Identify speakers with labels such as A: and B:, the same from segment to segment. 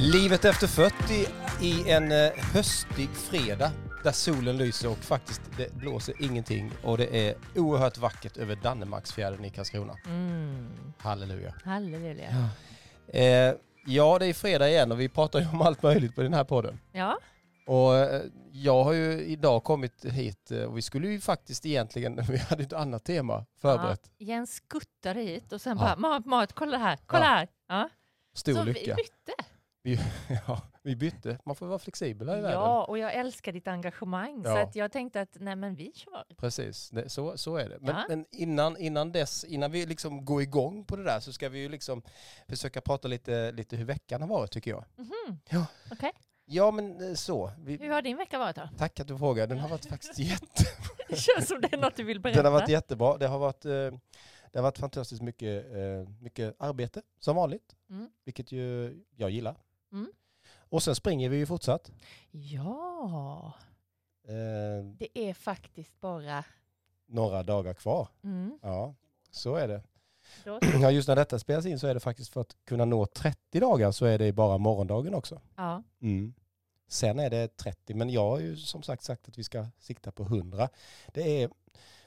A: Livet efter 40 i en eh, höstig fredag där solen lyser och faktiskt det blåser ingenting och det är oerhört vackert över Dannemarksfjärden i Karlskrona.
B: Mm.
A: Halleluja.
B: Halleluja.
A: Ja. Eh, ja, det är fredag igen och vi pratar ju om allt möjligt på den här podden.
B: Ja.
A: Och eh, jag har ju idag kommit hit eh, och vi skulle ju faktiskt egentligen, vi hade ett annat tema förberett.
B: Jens skuttade hit och sen
A: Ja.
B: bara Marit, Marit, kolla här, kolla
A: Ja.
B: här. Ja.
A: Stor
B: Så vi
A: lycka.
B: bytte.
A: ja, vi bytte, man får vara flexibel här i världen.
B: Ja, och jag älskar ditt engagemang. Så
A: Ja.
B: att jag tänkte att nej men vi kör.
A: Precis, det, så, så är det. Men,
B: Ja.
A: men innan, innan dess, innan vi liksom går igång på det där så ska vi ju liksom försöka prata lite, lite hur veckan har varit tycker jag.
B: Mhm.
A: Ja.
B: Okej.
A: Ja men eh, så,
B: Hur
A: vi,
B: har din vecka varit då?
A: tack att du frågar. Den har varit faktiskt jätte,
B: Det känns som det är något du vill berätta.
A: den har varit jättebra. Det har varit, eh, det har varit fantastiskt mycket, eh, mycket arbete som vanligt,
B: Mm.
A: vilket ju jag gillar.
B: Mm.
A: Och sen springer vi ju fortsatt.
B: Ja,
A: Eh,
B: det är faktiskt bara...
A: några dagar kvar.
B: Mm.
A: Ja, så är det.
B: Då...
A: Ja, just när detta spelas in så är det faktiskt för att kunna nå 30 dagar så är det bara morgondagen också.
B: Ja.
A: Sen är det 30, men jag har ju som sagt sagt att vi ska sikta på 100. Det är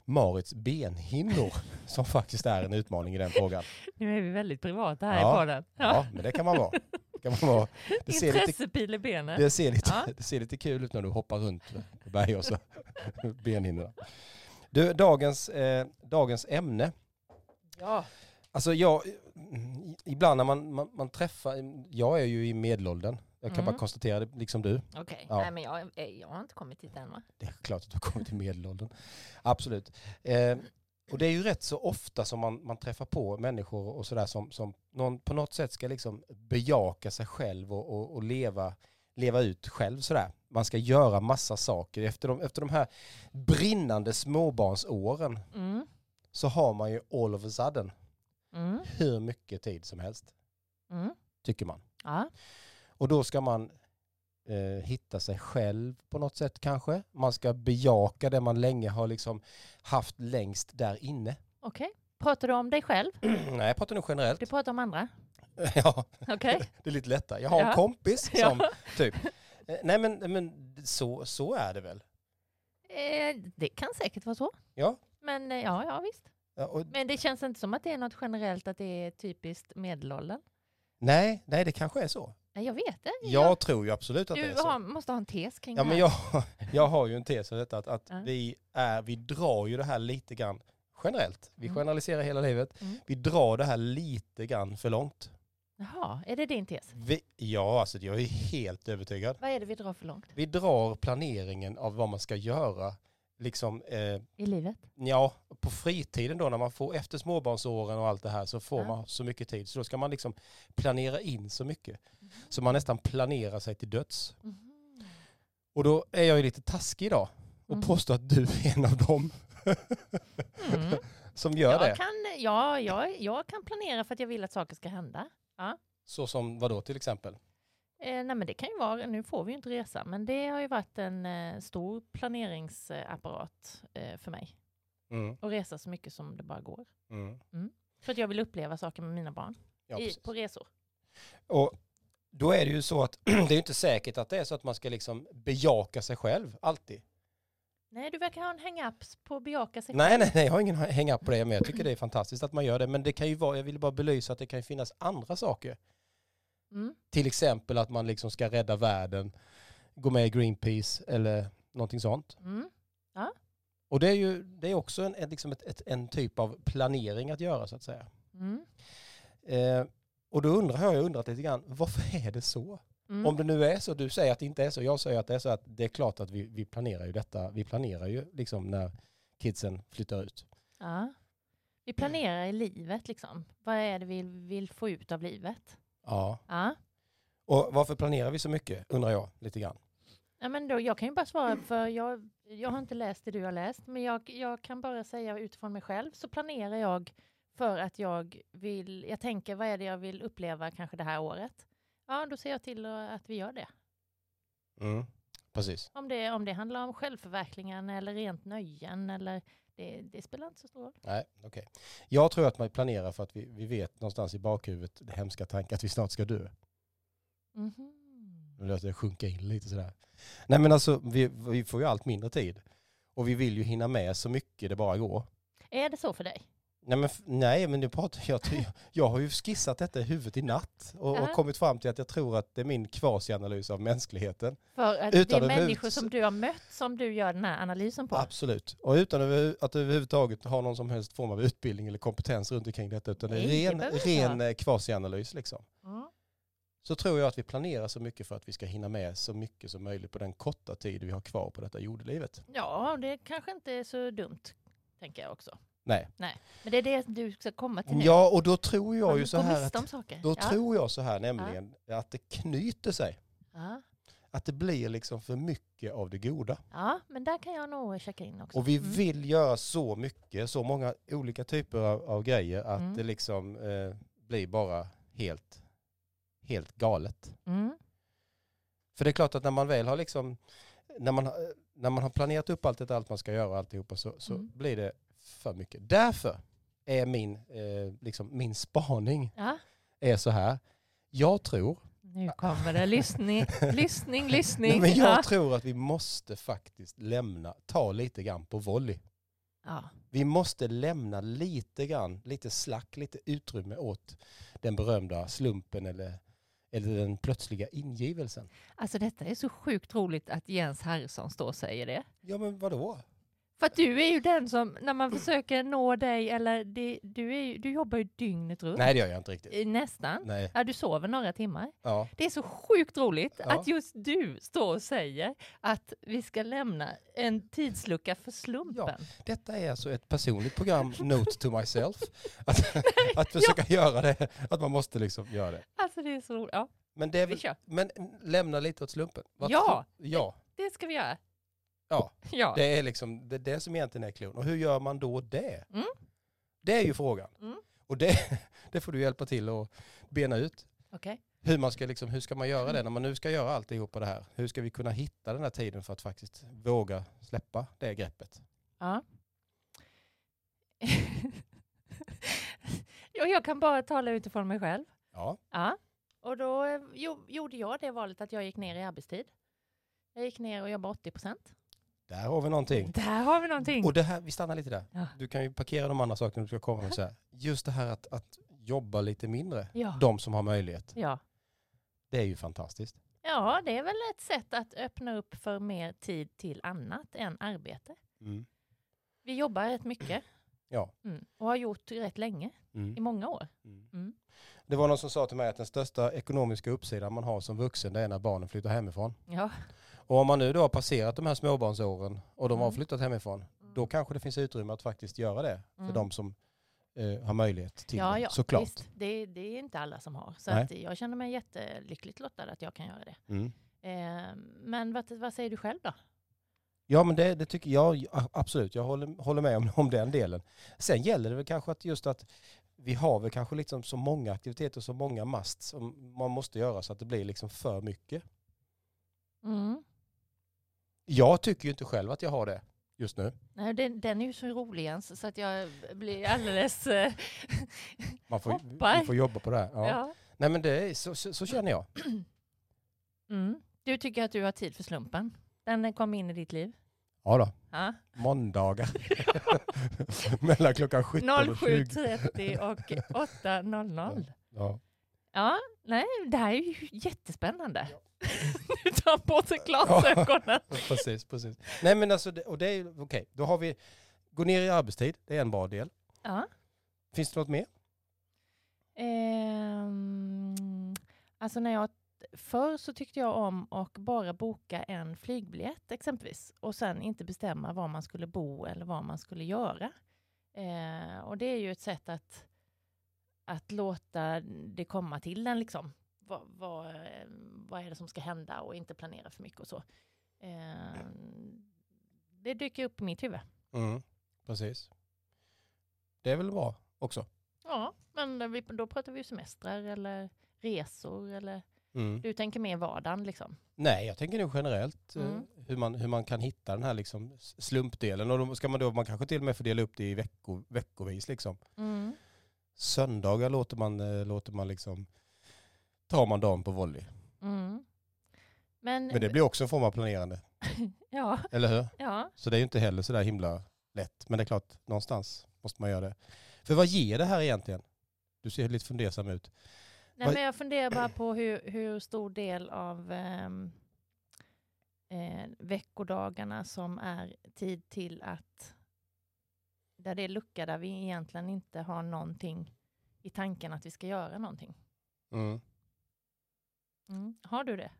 A: Marits benhinnor som faktiskt är en utmaning i den frågan.
B: Nu är vi väldigt privata här
A: Ja.
B: i podden. Ja.
A: Ja, men det kan man vara. Det, kan man vara. det, ser, lite,
B: Intressepil i benen.
A: det, ser, lite,
B: Ja.
A: det ser lite kul ut när du hoppar runt på berg och så benhinnorna. Du, dagens, eh, dagens ämne
B: Ja.
A: Alltså jag, mm, ibland när man, man, man träffar, jag är ju i medelåldern, jag kan
B: Mm.
A: bara konstatera det, liksom du.
B: Okej,
A: Ja.
B: nej men jag, jag har inte kommit hit än va?
A: Det är klart att du har kommit till medelåldern. Absolut. Eh, och det är ju rätt så ofta som man, man träffar på människor och sådär som, som någon på något sätt ska liksom bejaka sig själv och, och, och leva, leva ut själv sådär. Man ska göra massa saker. Efter de, efter de här brinnande småbarnsåren
B: Mm.
A: så har man ju all of a sudden
B: Mm.
A: hur mycket tid som helst,
B: Mm.
A: tycker man.
B: Ja.
A: Och då ska man eh, hitta sig själv på något sätt kanske. Man ska bejaka det man länge har liksom haft längst där inne.
B: Okej. Pratar du om dig själv?
A: Nej, jag pratar nu generellt.
B: Du pratar om andra?
A: ja,
B: Okej.
A: det är lite lättare. Jag har en
B: Ja.
A: kompis
B: Ja.
A: som typ. Eh, Nej, men, men så, så är det väl.
B: Eh, det kan säkert vara så.
A: Ja.
B: Men eh, ja, ja visst.
A: Ja, och,
B: Men det känns inte som att det är något generellt att det är typiskt medelåldern.
A: nej, nej, det kanske är så.
B: Nej, jag vet det.
A: Jag tror ju absolut att det
B: du
A: är så.
B: har, måste ha en tes kring
A: Ja,
B: det
A: men
B: här.
A: jag, jag har ju en tes om detta, att, att
B: Ja.
A: vi, är, vi drar ju det här lite grann generellt. Vi
B: Mm.
A: generaliserar hela livet.
B: Mm.
A: Vi drar det här lite grann för långt.
B: Jaha, är det din tes?
A: Vi, ja, alltså jag är helt övertygad.
B: Vad är det vi drar för långt
A: Vi drar planeringen av vad man ska göra, liksom, eh,
B: i livet?
A: ja, på fritiden då när man får, efter småbarnsåren och allt det här så får
B: Ja.
A: man så mycket tid. Så då ska man liksom planera in så mycket.
B: Mm-hmm.
A: Så man nästan planerar sig till döds.
B: Mhm.
A: Och då är jag ju lite taskig idag och
B: Mhm.
A: påstår att du är en av dem
B: Mm.
A: som gör det.
B: Jag, kan, eh, ja, jag, jag kan planera för att jag vill att saker ska hända.
A: Så som vadå till exempel?
B: Eh, nej men det kan ju vara, nu får vi ju inte resa, men det har ju varit en eh, stor planeringsapparat eh, för mig.
A: Mm,
B: Och resa så mycket som det bara går.
A: mm.
B: För att jag vill uppleva saker med mina barn
A: Ja,
B: i,
A: precis.
B: på resor.
A: Och då är det ju så att det är ju inte säkert att det är så att man ska liksom bejaka sig själv alltid.
B: Nej, du verkar ha en hang-up på att bejaka sig
A: Nej,
B: själv.
A: nej, nej, jag har ingen hänga på det, men jag tycker det är fantastiskt att man gör det. Men det kan ju vara, jag ville bara belysa att det kan ju finnas andra saker.
B: Mm.
A: Till exempel att man liksom ska rädda världen, gå med i Greenpeace eller någonting sånt.
B: Mm.
A: Och det är ju det är också en, en, liksom ett, ett, en typ av planering att göra så att säga.
B: Mm.
A: Eh, och då undrar har jag undrat lite grann, varför är det så?
B: Mm.
A: Om det nu är så, du säger att det inte är så, jag säger att det är så, att det är klart att vi, vi planerar ju detta, vi planerar ju liksom när kidsen flyttar ut.
B: Ja. Vi planerar i livet liksom. Vad är det vi vill få ut av livet?
A: Ja.
B: Ja.
A: Och varför planerar vi så mycket, undrar jag lite grann.
B: Ja, men då, jag kan ju bara svara för jag, jag har inte läst det du har läst men jag, jag kan bara säga utifrån mig själv så planerar jag för att jag vill, jag tänker vad är det jag vill uppleva kanske det här året? Ja, då ser jag till att vi gör det.
A: Mm. Precis.
B: Om det, om det handlar om självförverkligan eller rent nöjen eller det, det spelar inte så stor roll.
A: Nej, okej. Jag tror att man planerar för att vi, vi vet någonstans i bakhuvudet det hemska tanken att vi snart ska dö.
B: Mhm.
A: Nu låter jag sjunka in lite sådär. Nej men alltså vi, vi får ju allt mindre tid. Och vi vill ju hinna med så mycket det bara går.
B: Är det så för dig?
A: Nej men, f- nej, men nu pratar jag, till- jag har ju skissat detta i huvudet i natt och, och
B: Ja.
A: kommit fram till att jag tror att det är min kvasianalys av mänskligheten.
B: För att
A: Utan
B: det
A: en
B: är människor
A: hut-
B: som du har mött som du gör den här analysen på.
A: Absolut. Och utan över- att överhuvudtaget ha någon som helst form av utbildning eller kompetens runt omkring detta utan det är
B: Nej, det
A: ren,
B: behöver inte
A: ren
B: vara.
A: eh, kvasianalys liksom.
B: Ja.
A: Så tror jag att vi planerar så mycket för att vi ska hinna med så mycket som möjligt på den korta tid vi har kvar på detta jordelivet.
B: ja, det kanske inte är så dumt, tänker jag också.
A: Nej.
B: Men det är det du ska komma till nu.
A: Ja, och då tror
B: Man
A: jag ju så
B: går
A: här
B: miste
A: att
B: om saker.
A: Då
B: ja.
A: tror jag så här nämligen att det knyter sig.
B: Ja.
A: Att det blir liksom för mycket av det goda.
B: ja, men där kan jag nog checka in också.
A: Och vi
B: Mm.
A: vill göra så mycket, så många olika typer av, av grejer att
B: Mm.
A: det liksom eh, blir bara helt, helt galet.
B: Mm.
A: För det är klart att när man väl har liksom, när man, har- när man har planerat upp allt det allt man ska göra och alltihopa så, så
B: Mm.
A: blir det för mycket. Därför är min, eh, liksom, min spaning
B: Ja.
A: är så här. Jag tror
B: Nu kommer det lyssning, lyssning, lyssning.
A: Nej, men
B: ja.
A: jag tror att vi måste faktiskt lämna, ta lite grann på volley.
B: Ja.
A: Vi måste lämna lite grann, lite slack, lite utrymme åt den berömda slumpen eller, eller den plötsliga ingivelsen.
B: Alltså detta är så sjukt roligt att Jens Harrison står och säger det.
A: Ja men
B: Mm.
A: vadå?
B: För att du är ju den som, när man försöker nå dig, eller det, du, är, ju- du jobbar ju dygnet runt.
A: Nej det gör jag inte riktigt.
B: Eh, Nästan.
A: Nej,
B: Ja, du sover några timmar.
A: ja.
B: Det är så sjukt roligt
A: Ja.
B: att just du står och säger att vi ska lämna en tidslucka för slumpen.
A: Detta är alltså ett personligt program, Note to myself. Att, att försöka göra det, att man måste liksom göra det.
B: Alltså det är så roligt. Ja,
A: Men, det är
B: vi
A: väl,
B: kör.
A: men lämna lite åt slumpen. Vad
B: Ja.
A: tror- ja.
B: Det ska vi göra.
A: Ja.
B: ja.
A: Det är liksom det, är det som egentligen är klon. Och hur gör man då det?
B: Mm.
A: Det är ju frågan.
B: Mm.
A: Och det, det får du hjälpa till att bena ut.
B: Okej.
A: Hur, man ska liksom, hur ska man göra det när man nu ska göra alltihopa det här? Hur ska vi kunna hitta den här tiden för att faktiskt våga släppa det greppet?
B: Ja. ja. Jag kan bara tala utifrån mig själv.
A: Ja,
B: Ja. Och då eh, jo, gjorde jag det valet att jag gick ner i arbetstid. Jag gick ner och jobbade 80 procent.
A: där har vi någonting.
B: Där har vi någonting.
A: Och det här, vi stannar lite där.
B: Ja.
A: Du kan ju parkera de andra sakerna du ska komma med. Så här. Just det här att, att jobba lite mindre,
B: Ja.
A: de som har möjlighet,
B: Ja.
A: det är ju fantastiskt.
B: ja, det är väl ett sätt att öppna upp för mer tid till annat än arbete.
A: Mm.
B: Vi jobbar rätt mycket.
A: Ja.
B: Mm. Och har gjort rätt länge, i många år. Mm.
A: Det var någon som sa till mig att den största ekonomiska uppsidan man har som vuxen det är när barnen flyttar hemifrån.
B: Ja.
A: Och om man nu då har passerat de här småbarnsåren och de har
B: Mm.
A: flyttat hemifrån, då kanske det finns utrymme att faktiskt göra det för
B: Mm.
A: de som eh, har möjlighet till
B: ja,
A: det,
B: ja,
A: såklart.
B: Visst, det, det är inte alla som har. Så
A: Nej.
B: att jag känner mig jättelyckligt lottad att jag kan göra det.
A: Mm.
B: Eh, men vad, vad säger du själv då?
A: Ja men det, det tycker jag ja, absolut, jag håller, håller med om, om den delen. Sen gäller det väl kanske att just att vi har väl kanske liksom så många aktiviteter, så många mast som man måste göra så att det blir liksom för mycket.
B: Mm.
A: Jag tycker ju inte själv att jag har det just nu.
B: Nej, den, den är ju så rolig Jens, så att jag blir alldeles... eh,
A: Man får,
B: Hoppar.
A: vi får jobba på det här. Ja.
B: ja.
A: Nej men det är, så, så, så känner jag.
B: Mm. Du tycker att du har tid för slumpen. Den kom in i ditt liv.
A: Ja då.
B: Ja.
A: Måndagar. Mellan klockan 17 och 20.
B: 07.30 och 8.00.
A: Ja.
B: Ja, nej, det här är ju jättespännande. Nu tar han på sig glasögonen.
A: Precis, precis. Nej men alltså, det, och det är okej. Då har vi, gå ner i arbetstid, det är en bra del.
B: Ja.
A: Finns det något mer?
B: Ehm, alltså när jag, förr så tyckte jag om att bara boka en flygbiljett exempelvis och sen inte bestämma var man skulle bo eller vad man skulle göra. Eh, och det är ju ett sätt att, att låta det komma till en liksom. Vad, vad, eh, vad är det som ska hända och inte planera för mycket och så. Ehm, det dyker upp i mitt huvud.
A: Mm. Precis. Det är väl bra också.
B: Ja, men vi, då pratar vi ju semestrar eller resor eller
A: Mm.
B: Du tänker mer vardagen liksom?
A: Nej, jag tänker nog generellt eh,
B: Mm.
A: hur, man, hur man kan hitta den här liksom s- slumpdelen. Och då ska man då, man kanske till och med får dela upp det i vecko, veckovis liksom.
B: Mm.
A: Söndagar låter man, eh, låter man liksom, tar man dagen på volley.
B: Mm. Men,
A: Men det blir också en form av planerande,
B: ja,
A: eller hur?
B: ja,
A: Så det är ju inte heller så där himla lätt. Men det är klart, någonstans måste man göra det. För vad ger det här egentligen? Du ser lite fundersam ut.
B: Nej,
A: Vad-
B: men jag funderar bara på hur, hur stor del av ehm, eh, veckodagarna som är tid till att där det är lucka där vi egentligen inte har någonting i tanken att vi ska göra någonting.
A: Mm.
B: Mm. Har du det?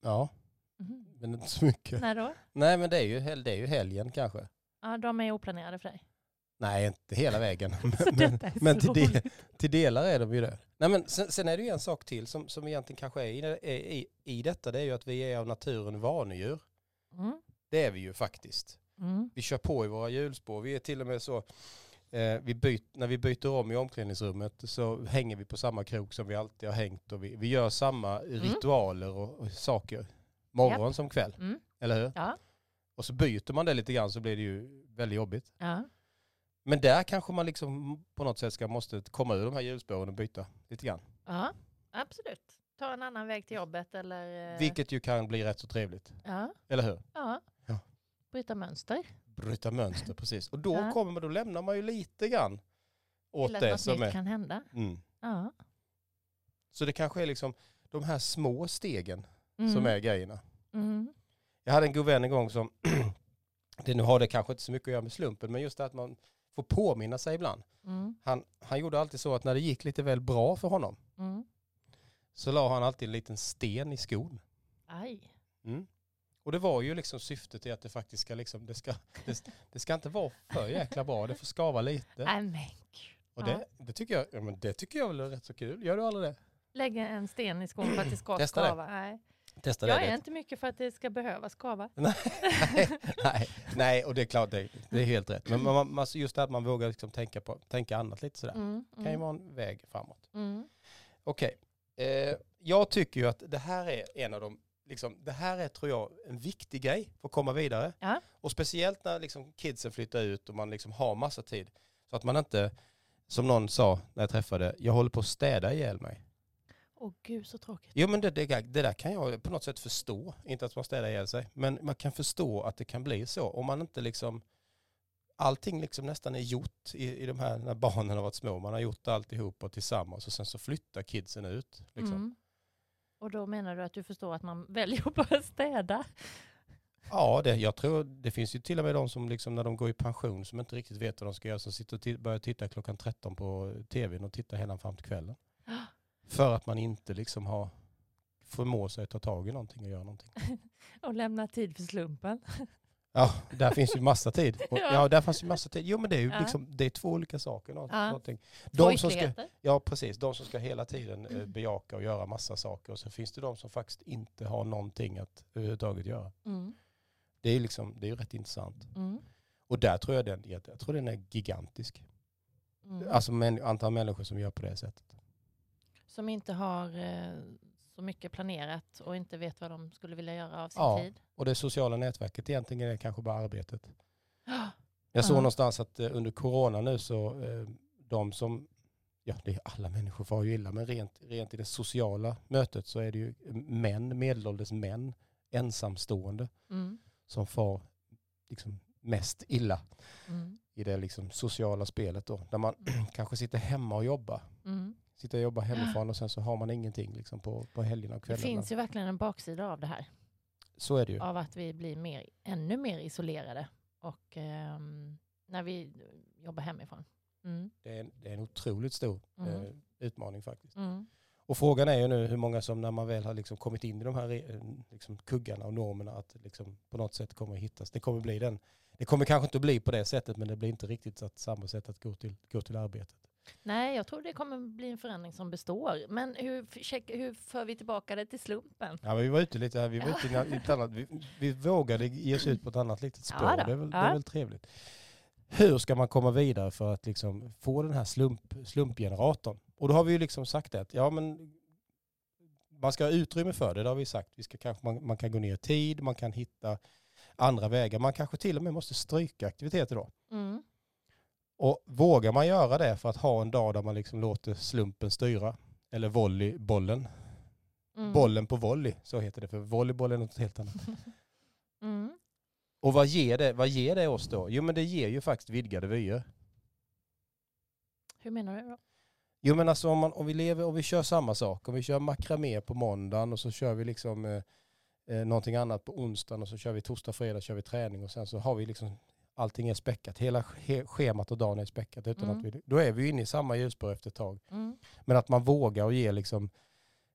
A: Ja,
B: Mhm.
A: men inte så mycket.
B: När då?
A: Nej, men det är, ju, hel- det är ju helgen kanske.
B: Ja, de är oplanerade för dig.
A: Nej, inte hela vägen.
B: Så
A: men
B: detta är
A: men
B: så
A: till, del,
B: roligt.
A: till delar är de ju det. Nej, men sen, sen är det ju en sak till som, som egentligen kanske är i, är i, i detta. Det är ju att vi är av naturen vanedjur.
B: Mm.
A: Det är vi ju faktiskt.
B: Mm.
A: Vi kör på i våra hjulspår. Vi är till och med så, eh, vi byt, när vi byter om i omklädningsrummet så hänger vi på samma krok som vi alltid har hängt och vi, vi gör samma ritualer och, och saker morgon som kväll,
B: Mm.
A: eller hur?
B: Ja.
A: Och så byter man det lite grann så blir det ju väldigt jobbigt.
B: Ja.
A: Men där kanske man liksom på något sätt ska måste komma ur de här hjulspåren och byta lite grann.
B: ja, absolut. Ta en annan väg till jobbet eller... eh,
A: Vilket ju kan bli rätt så trevligt,
B: Ja,
A: eller hur?
B: ja.
A: Ja.
B: Bryta mönster.
A: Bryta mönster, precis. Och då,
B: Ja.
A: kommer, man- då lämnar man ju lite grann åt
B: Till att
A: det
B: något
A: som
B: nytt
A: är...
B: kan hända.
A: Mm.
B: Ja.
A: Så det kanske är liksom de här små stegen
B: Mm.
A: som är grejerna.
B: Mm.
A: Jag hade en god vän en gång som, det nu har det kanske inte så mycket att göra med slumpen, men just det att man får påminna sig ibland.
B: Mm.
A: Han, han gjorde alltid så att när det gick lite väl bra för honom
B: Mm.
A: så la han alltid en liten sten i skon.
B: Aj.
A: Mm. Och det var ju liksom syftet i att det faktiskt ska liksom, det ska, det, det ska inte vara för jäkla bra, det får skava lite.
B: Nej, men gud.
A: Och det, det tycker jag, ja, men det tycker jag väl är rätt så kul. Gör du aldrig det?
B: Lägga en sten i skon för att det ska
A: Testa det.
B: skava. Nej.
A: Testa
B: Jag är inte mycket för att det ska behöva skava.
A: nej, nej, och det är klart, det, det är helt rätt. Men man, man, man- just det här att man vågar liksom tänka, på, tänka annat lite sådär.
B: Mm.
A: kan ju
B: Mm.
A: vara en väg framåt.
B: Mm.
A: Okej, eh, jag tycker ju att det här är en av de, liksom, det här är tror jag en viktig grej för att komma vidare.
B: Ja.
A: Och speciellt när liksom, kidsen flyttar ut och man liksom har massa tid. Så att man inte, som någon sa när jag träffade, jag håller på att städa ihjäl mig.
B: Åh gud så tråkigt.
A: Jo men det, det, det där kan jag på något sätt förstå. Inte att man städar ihjäl sig. Men man kan förstå att det kan bli så. Om man inte liksom... Allting liksom nästan är gjort i, i de här när barnen har varit små. Man har gjort alltihopa tillsammans och sen så flyttar kidsen ut. Liksom.
B: Mm. Och då menar du att du förstår att man väljer att bara städa?
A: Ja, det, jag tror det finns ju till och med de som liksom när de går i pension som inte riktigt vet vad de ska göra. Som sitter och ti- börjar titta klockan 13 på tvn och tittar hela fram till kvällen. För att man inte liksom har förmår sig att ta tag i någonting och göra någonting.
B: Och lämna tid för slumpen?
A: Ja, där finns ju massa tid. Och,
B: Ja.
A: ja. där fanns ju massa tid. Jo, men det är ju
B: Ja.
A: liksom, det är två olika saker. Nå-
B: Ja.
A: Någonting.
B: Två
A: De som ska,
B: ytterligheter.
A: ja, precis. De som ska hela tiden eh, bejaka och göra massa saker. Och sen finns det de som faktiskt inte har någonting att överhuvudtaget göra.
B: Mm.
A: Det är ju liksom, det är ju rätt intressant.
B: Mm.
A: Och där tror jag den, jag jag tror den är gigantisk.
B: Mm.
A: Alltså män, antal människor som gör på det sättet.
B: Som inte har eh, så mycket planerat och inte vet vad de skulle vilja göra av sin
A: Ja.
B: tid.
A: Och det sociala nätverket egentligen är kanske bara arbetet.
B: Ja.
A: Jag såg
B: Ja.
A: någonstans att eh, under corona nu så eh, de som, ja det är alla människor far ju illa, men rent, rent i det sociala mötet så är det ju eh, män, medelålders män, ensamstående
B: Mm.
A: som far liksom mest illa
B: Mm.
A: i det liksom sociala spelet då. Där man kanske sitter hemma och jobbar.
B: Mm.
A: Sitter och jobbar hemifrån och sen så har man ingenting liksom på, på helgerna och
B: Det
A: kvällarna.
B: finns ju verkligen en baksida av det här.
A: Så är det ju.
B: Av att vi blir mer, ännu mer isolerade. Och ehm, när vi jobbar hemifrån. Mm.
A: Det är en, det är en otroligt stor
B: Mm.
A: eh, utmaning faktiskt.
B: Mm.
A: Och frågan är ju nu hur många som när man väl har liksom kommit in i de här eh, liksom kuggarna och normerna att liksom på något sätt kommer att hittas. Det kommer bli den. Det kommer kanske inte att bli på det sättet men det blir inte riktigt att samma sätt att gå till, gå till arbetet.
B: Nej, jag tror det kommer bli en förändring som består. Men hur, f- check, hur för vi tillbaka det till slumpen?
A: Ja, men vi var ute lite här, vi var ute i na- i ett annat, vi, vi vågade ge oss ut på ett annat litet
B: Ja
A: spår.
B: då,
A: det, är väl, det
B: ja.
A: är väl trevligt. Hur ska man komma vidare för att liksom få den här slump, slumpgeneratorn? Och då har vi ju liksom sagt det att ja, men man ska ha utrymme för det, det har vi sagt. Vi ska kanske, man, man kan gå ner i tid, man kan hitta andra vägar. Man kanske till och med måste stryka aktiviteter då.
B: Mm.
A: Och vågar man göra det för att ha en dag där man liksom låter slumpen styra, eller volleybollen,
B: Mm.
A: bollen på volley, så heter det, för volleyboll är något helt annat.
B: Mm.
A: Och vad ger, det, vad ger det oss då? Jo men det ger ju faktiskt vidgade vyer.
B: Hur menar du? Då?
A: Jo men alltså om, man, om vi lever och vi kör samma sak, om vi kör makramé på måndagen och så kör vi liksom eh, eh, någonting annat på onsdagen och så kör vi torsdag, fredag, kör vi träning och sen så har vi liksom allting är späckat, hela sch- schemat och dagen är späckat utan
B: Mm.
A: att vi, då är vi ju inne i samma hjulspår efter ett tag.
B: Mm.
A: Men att man vågar och ger liksom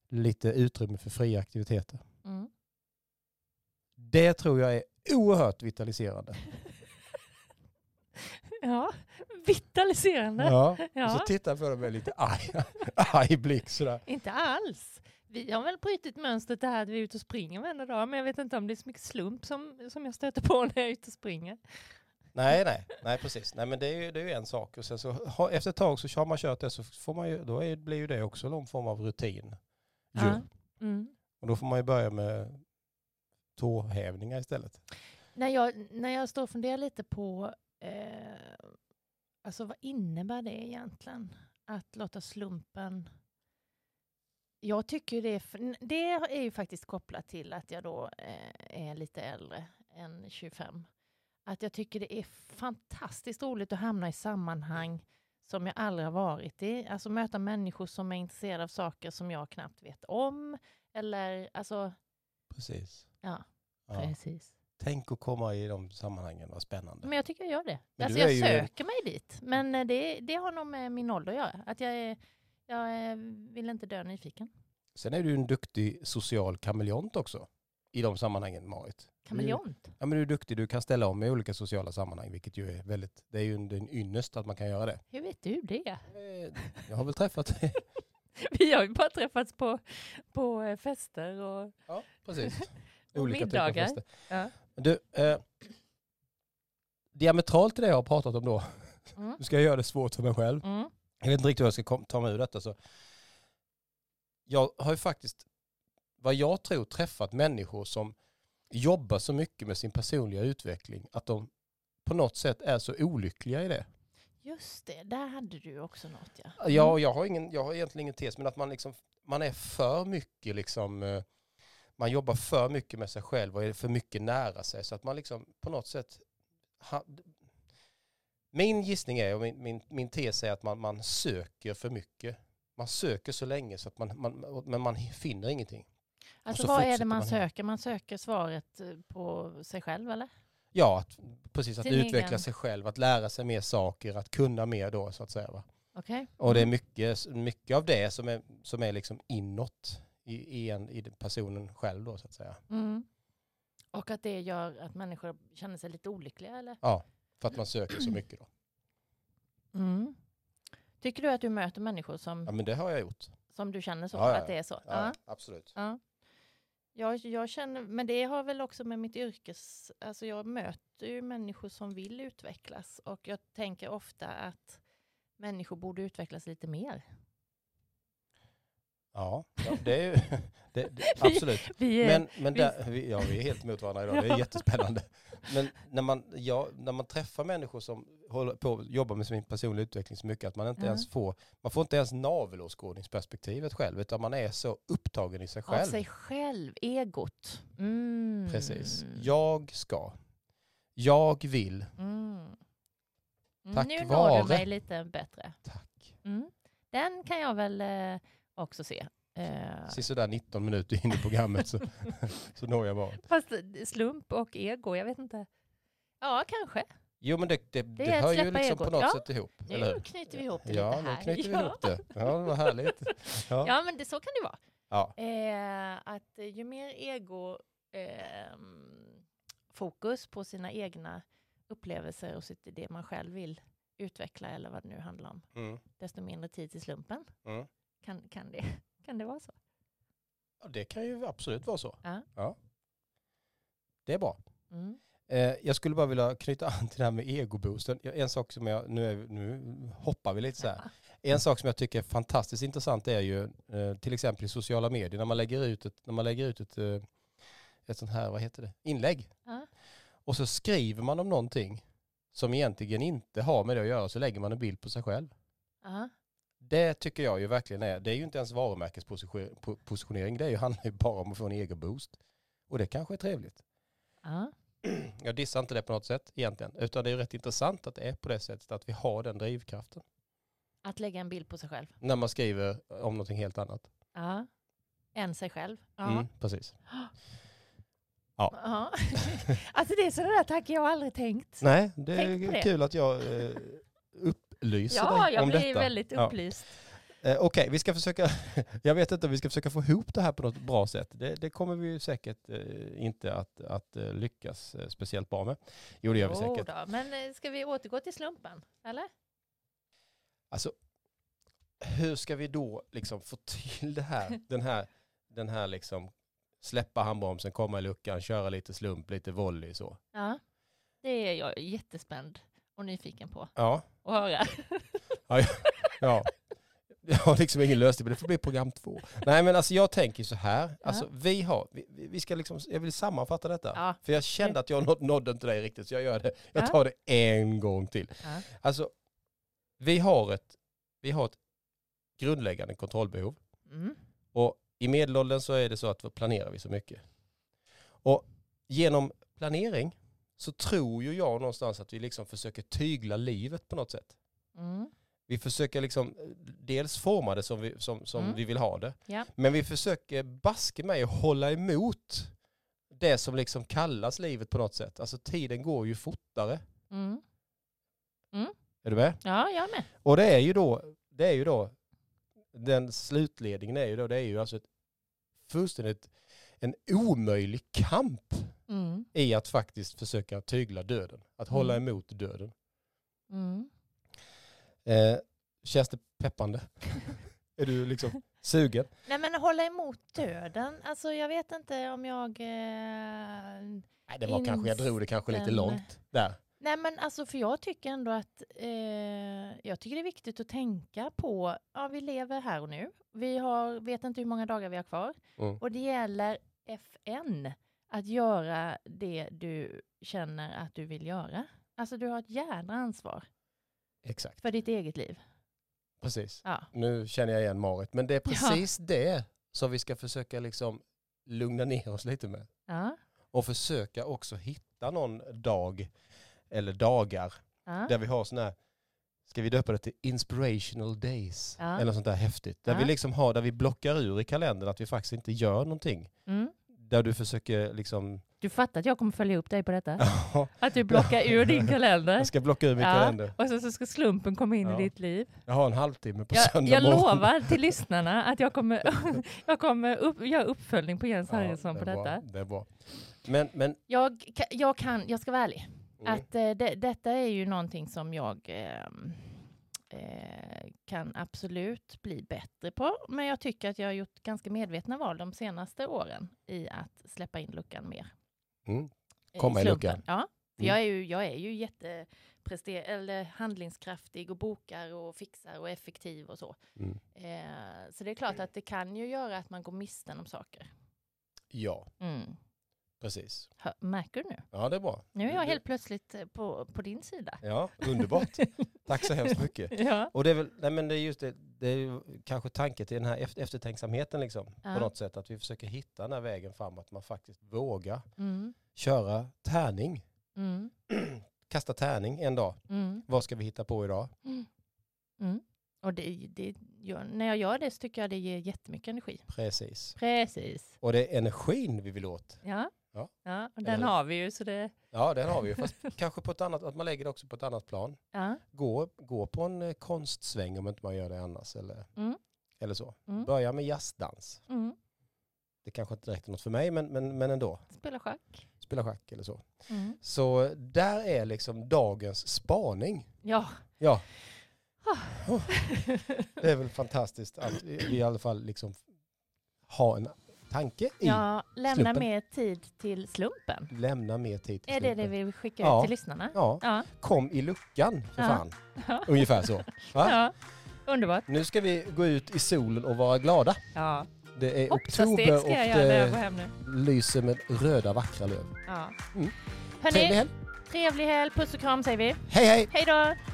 A: lite utrymme för fria aktiviteter.
B: Mm.
A: Det tror jag är oerhört vitaliserande.
B: Ja, vitaliserande.
A: Ja.
B: Ja.
A: Och så tittar jag på dem med lite arg, arg blick sådär.
B: Inte alls. Vi har väl brutit mönstret det här att vi är ute och springer varenda dag, men jag vet inte om det är så mycket slump som, som jag stöter på när jag är ute och springer.
A: Nej, nej, nej precis. Nej, men det är ju, det är ju en sak. Och sen så, ha, efter ett tag så har man kört det så får man ju, då är, blir ju det också någon form av rutin. Ju.
B: Ja. Mm.
A: Och då får man ju börja med tåhävningar istället.
B: När, jag, när jag står och funderar lite på, eh, alltså vad innebär det egentligen? Att låta slumpen... Jag tycker ju det är, f- det är ju faktiskt kopplat till att jag då eh, är lite äldre än 25. Att jag tycker det är fantastiskt roligt att hamna i sammanhang som jag aldrig har varit i. Alltså möta människor som är intresserade av saker som jag knappt vet om. Eller alltså,
A: Precis.
B: Ja.
A: ja.
B: precis.
A: Tänk att komma i de sammanhangen, vad spännande.
B: Men jag tycker jag gör det.
A: Men
B: alltså
A: du är
B: jag
A: ju-
B: söker mig dit. Men eh, det, det har nog med min ålder att göra. Att jag, är, jag eh, vill inte dö nyfiken.
A: Sen är du en duktig social kameleont också i de sammanhangen, Marit.
B: Kameleont.
A: Ja, men du är duktig, du kan ställa om i olika sociala sammanhang, vilket ju är väldigt, det är ju en, det är en ynnest att man kan göra det.
B: Hur vet du det?
A: Eh, Jag har väl träffat dig.
B: Vi har ju bara träffats på, på eh, fester och...
A: Ja, precis.
B: Och middagar. Ja.
A: Du, eh, diametralt till det jag har pratat om då,
B: Mm.
A: nu ska jag göra det svårt för mig själv.
B: Mm.
A: Jag vet inte riktigt hur jag ska kom- ta mig ur detta. Så. Jag har ju faktiskt, vad jag tror, träffat människor som jobbar så mycket med sin personliga utveckling att de på något sätt är så olyckliga i det.
B: Just det, där hade du också något ja. Mm.
A: Ja, och jag har, ingen, jag har egentligen ingen tes, men att man, liksom, man är för mycket liksom, eh, man jobbar för mycket med sig själv och är för mycket nära sig så att man liksom på något sätt ha, min gissning är, och min, min, min tes är att man, man söker för mycket. Man söker så länge så att man, man, men man finner ingenting.
B: Alltså
A: så
B: vad är det
A: fortsätter
B: man
A: man.
B: söker? Man söker svaret eh, på sig själv eller?
A: Ja, att, precis att
B: Sin
A: utveckla
B: egen.
A: sig själv, att lära sig mer saker, att kunna mer då så att säga. Va?
B: Okej?
A: Och det är mycket, mycket av det som är, som är liksom inåt i, i, en, i personen själv då så att säga.
B: Mm. Och att det gör att människor känner sig lite olyckliga eller?
A: Ja, för att man söker så mycket då.
B: Mm. Tycker du att du möter människor som,
A: Ja men det har jag gjort.
B: som du känner så?
A: Ja, ja,
B: Att det är så?
A: Ja,
B: Ja.
A: absolut.
B: ja. Jag, jag känner, men det har väl också med mitt yrkes... Alltså jag möter ju människor som vill utvecklas och jag tänker ofta att människor borde utvecklas lite mer.
A: Ja, ja det är ju, det, det, absolut.
B: Vi är,
A: Men, men
B: vi-
A: där, vi, ja, vi är helt mot varandra idag, det är
B: Ja.
A: jättespännande. Men när man, ja, när man träffar människor som håller på, jobbar med sin personliga utveckling så mycket att man inte
B: Ja.
A: ens får, man får inte ens navelåskådningsperspektivet själv utan man är så upptagen i sig
B: av
A: själv.
B: sig själv, egot. Mm.
A: Precis. Jag ska. Jag vill.
B: Mm. Mm,
A: Tack
B: nu når
A: vare-
B: du mig lite bättre.
A: Tack.
B: Mm. Den kan jag väl eh, också se. Eh,
A: Precis sådär 19 minuter in i programmet så, så når jag bara.
B: Fast eh, slump och ego, jag vet inte. Ja, kanske.
A: Jo men det, det, det,
B: är att
A: hör ju
B: släppa
A: liksom på
B: egot.
A: något
B: Ja.
A: sätt ihop. Eller
B: Nu
A: hur?
B: knyter vi ihop det
A: Ja,
B: lite
A: nu
B: här.
A: knyter vi
B: ja.
A: ihop det. Ja, vad härligt. Ja.
B: ja, men det, så kan det vara.
A: Ja.
B: Eh, att eh, ju mer ego ehm, fokus på sina egna upplevelser och sitt, det man själv vill utveckla eller vad det nu handlar om,
A: Mm.
B: desto mindre tid till slumpen.
A: Mm.
B: Kan, kan, det, kan det vara så?
A: Ja, det kan ju absolut vara så.
B: Ja.
A: Det är bra.
B: Mm.
A: Eh, jag skulle bara vilja knyta an till det här med egoboosten. Jag- En sak som jag, nu, är, nu hoppar vi lite så här. En sak som jag tycker är fantastiskt intressant är ju eh, till exempel i sociala medier när man lägger ut ett, när man lägger ut ett, eh, ett sånt här, vad heter det, inlägg.
B: Ja.
A: Och så skriver man om någonting som egentligen inte har med det att göra så lägger man en bild på sig själv.
B: Ja.
A: Det tycker jag ju verkligen är, det är ju inte ens varumärkespositionering, det är ju, handlar ju bara om att få en egen boost. Och det kanske är trevligt.
B: Ja.
A: Jag dissar inte det på något sätt egentligen, utan det är ju rätt intressant att det är på det sättet att vi har den drivkraften.
B: Att lägga en bild på sig själv.
A: När man skriver om någonting helt annat.
B: Ja. Än sig själv. Ja.
A: Mm, precis.
B: Ja. alltså det är sådana där tankar jag aldrig tänkt.
A: Nej, det
B: Tänk på det.
A: är kul att jag eh, upplyser
B: Ja,
A: dig
B: jag
A: om
B: blir
A: detta.
B: väldigt
A: Ja.
B: upplyst.
A: Eh, Okej, vi ska försöka, jag vet inte om vi ska försöka få ihop det här på något bra sätt. Det, det kommer vi ju säkert eh, inte att, att eh, lyckas eh, speciellt bra med. Jo, det gör vi
B: Jo
A: säkert.
B: då. Men eh, ska vi återgå till slumpen? Eller?
A: Alltså, hur ska vi då liksom få till det här, den här, den här liksom, släppa handbromsen, komma i luckan, köra lite slump, lite volley så.
B: Ja. Det är jag jättespänd och nyfiken på
A: Ja,
B: att höra.
A: ja. Jag har liksom ingen lösning, men det får bli program två. Nej, men alltså jag tänker så här, alltså vi har, vi, vi vi ska liksom, jag vill sammanfatta detta.
B: Ja.
A: För jag kände att jag nåd- nådde inte dig riktigt, så jag gör det.
B: Ja.
A: Jag tar det en gång till.
B: Ja.
A: Alltså, vi har ett, vi har ett grundläggande kontrollbehov.
B: Mm.
A: Och i medelåldern så är det så att vi planerar vi så mycket. Och genom planering så tror ju jag någonstans att vi liksom försöker tygla livet på något sätt.
B: Mm.
A: Vi försöker liksom eh, dels forma det som vi, som, som
B: Mm.
A: vi vill ha det.
B: Ja.
A: Men vi försöker baske mig och hålla emot det som liksom kallas livet på något sätt. Alltså tiden går ju fortare.
B: Mm.
A: Är du med?
B: Ja, jag med.
A: Och det är ju då, det är ju då, den slutledningen är ju då, det är ju alltså ett fullständigt, en omöjlig kamp
B: Mm.
A: i att faktiskt försöka tygla döden. Att hålla
B: Mm.
A: emot döden.
B: Mm.
A: Eh, känns det peppande? är du liksom sugen?
B: Nej men hålla emot döden, alltså jag vet inte om jag... Eh...
A: Nej, det var kanske, jag drog det kanske lite
B: Instämmer.
A: långt där.
B: Nej men alltså för jag tycker ändå att eh, jag tycker det är viktigt att tänka på, ja vi lever här och nu, vi har, vet inte hur många dagar vi har kvar
A: Mm.
B: och det gäller FN, att göra det du känner att du vill göra. Alltså du har ett jädra ansvar
A: Exakt,
B: för ditt eget liv.
A: precis.
B: Ja.
A: Nu känner jag igen Marit, men det är
B: Ja.
A: precis det som vi ska försöka liksom lugna ner oss lite med.
B: Ja.
A: Och försöka också hitta någon dag eller dagar
B: Ja.
A: där vi har sådana här, ska vi döpa det till inspirational days?
B: Ja.
A: Eller sånt där häftigt. Där
B: Ja.
A: vi liksom har, där vi blockar ur i kalendern att vi faktiskt inte gör någonting.
B: Mm.
A: Där du försöker liksom,
B: Du fattar att jag kommer följa upp dig på detta?
A: ja,
B: Att du blockar ur din kalender?
A: jag ska blocka ur min
B: Ja.
A: kalender.
B: Och sen så ska slumpen komma in
A: Ja.
B: i ditt liv.
A: Jag har en halvtimme på
B: Jag,
A: söndag
B: jag
A: morgon.
B: lovar till lyssnarna att jag kommer, jag kommer upp, göra uppföljning på Jens
A: Ja,
B: Harrison på
A: det är bra,
B: detta.
A: Det är bra. Men, men,
B: Jag, ka- jag kan, jag ska vara ärlig,
A: mm,
B: att eh, det, detta är ju någonting som jag ehm, eh, kan absolut bli bättre på. Men jag tycker att jag har gjort ganska medvetna val de senaste åren i att släppa in luckan mer.
A: mm,
B: Eh,
A: Komma i
B: slumpen.
A: luckan.
B: Ja. För
A: Mm.
B: Jag är ju, jag är ju jätteprester- eller handlingskraftig och bokar och fixar och effektiv och så.
A: mm.
B: Eh, så det är klart att det kan ju göra att man går miste om saker.
A: Ja,
B: Mm.
A: precis.
B: Hör, märker du nu?
A: Ja, det är bra.
B: Nu är jag
A: Du-
B: helt plötsligt eh, på, på din sida.
A: Ja, underbart. Tack så hemskt mycket.
B: Ja.
A: Och det är väl, nej men det är just det, det är ju kanske tanken till den här eft- eftertänksamheten liksom.
B: Ja.
A: På något sätt att vi försöker hitta den här vägen fram, att man faktiskt vågar
B: Mm.
A: köra tärning.
B: Mm.
A: Kasta tärning en dag.
B: Mm.
A: Vad ska vi hitta på idag?
B: Mm. Och det, det gör, när jag gör det så tycker jag det ger jättemycket energi.
A: Precis.
B: Precis.
A: Och det är energin vi vill åt.
B: Ja.
A: Ja.
B: och den
A: Eller-
B: har vi ju så det...
A: Ja, den har vi ju. Fast kanske på ett annat, att man lägger det också på ett annat plan.
B: Ja.
A: Gå, gå på en eh, konstsväng om inte man gör det annars. Eller,
B: Mm.
A: eller så.
B: Mm.
A: Börja med jazzdans.
B: Mm.
A: Det kanske inte direkt är något för mig, men, men, men ändå.
B: Spela schack.
A: Spela schack eller så.
B: Mm.
A: Så där är liksom dagens spaning.
B: Ja.
A: Ja. Oh. Det är väl fantastiskt att vi vi i alla fall liksom har en tanke i.
B: ja, lämna
A: slumpen.
B: mer tid till slumpen.
A: Lämna mer tid till
B: Är det det
A: slumpen.
B: vi skickar
A: Ja.
B: ut till lyssnarna?
A: Ja,
B: Ja.
A: kom i luckan för
B: Ja.
A: fan.
B: Ja.
A: Ungefär så. Va?
B: ja. Underbart.
A: Nu ska vi gå ut i solen och vara glada.
B: Ja.
A: Det är
B: Hoppsastek
A: oktober och eh,
B: ska jag göra när jag går
A: det
B: hem nu.
A: lyser med röda vackra löv.
B: Ja.
A: Mm.
B: Hörni,
A: Trevlig helg.
B: trevlig helg, puss och kram säger vi.
A: Hej hej!
B: Hej då!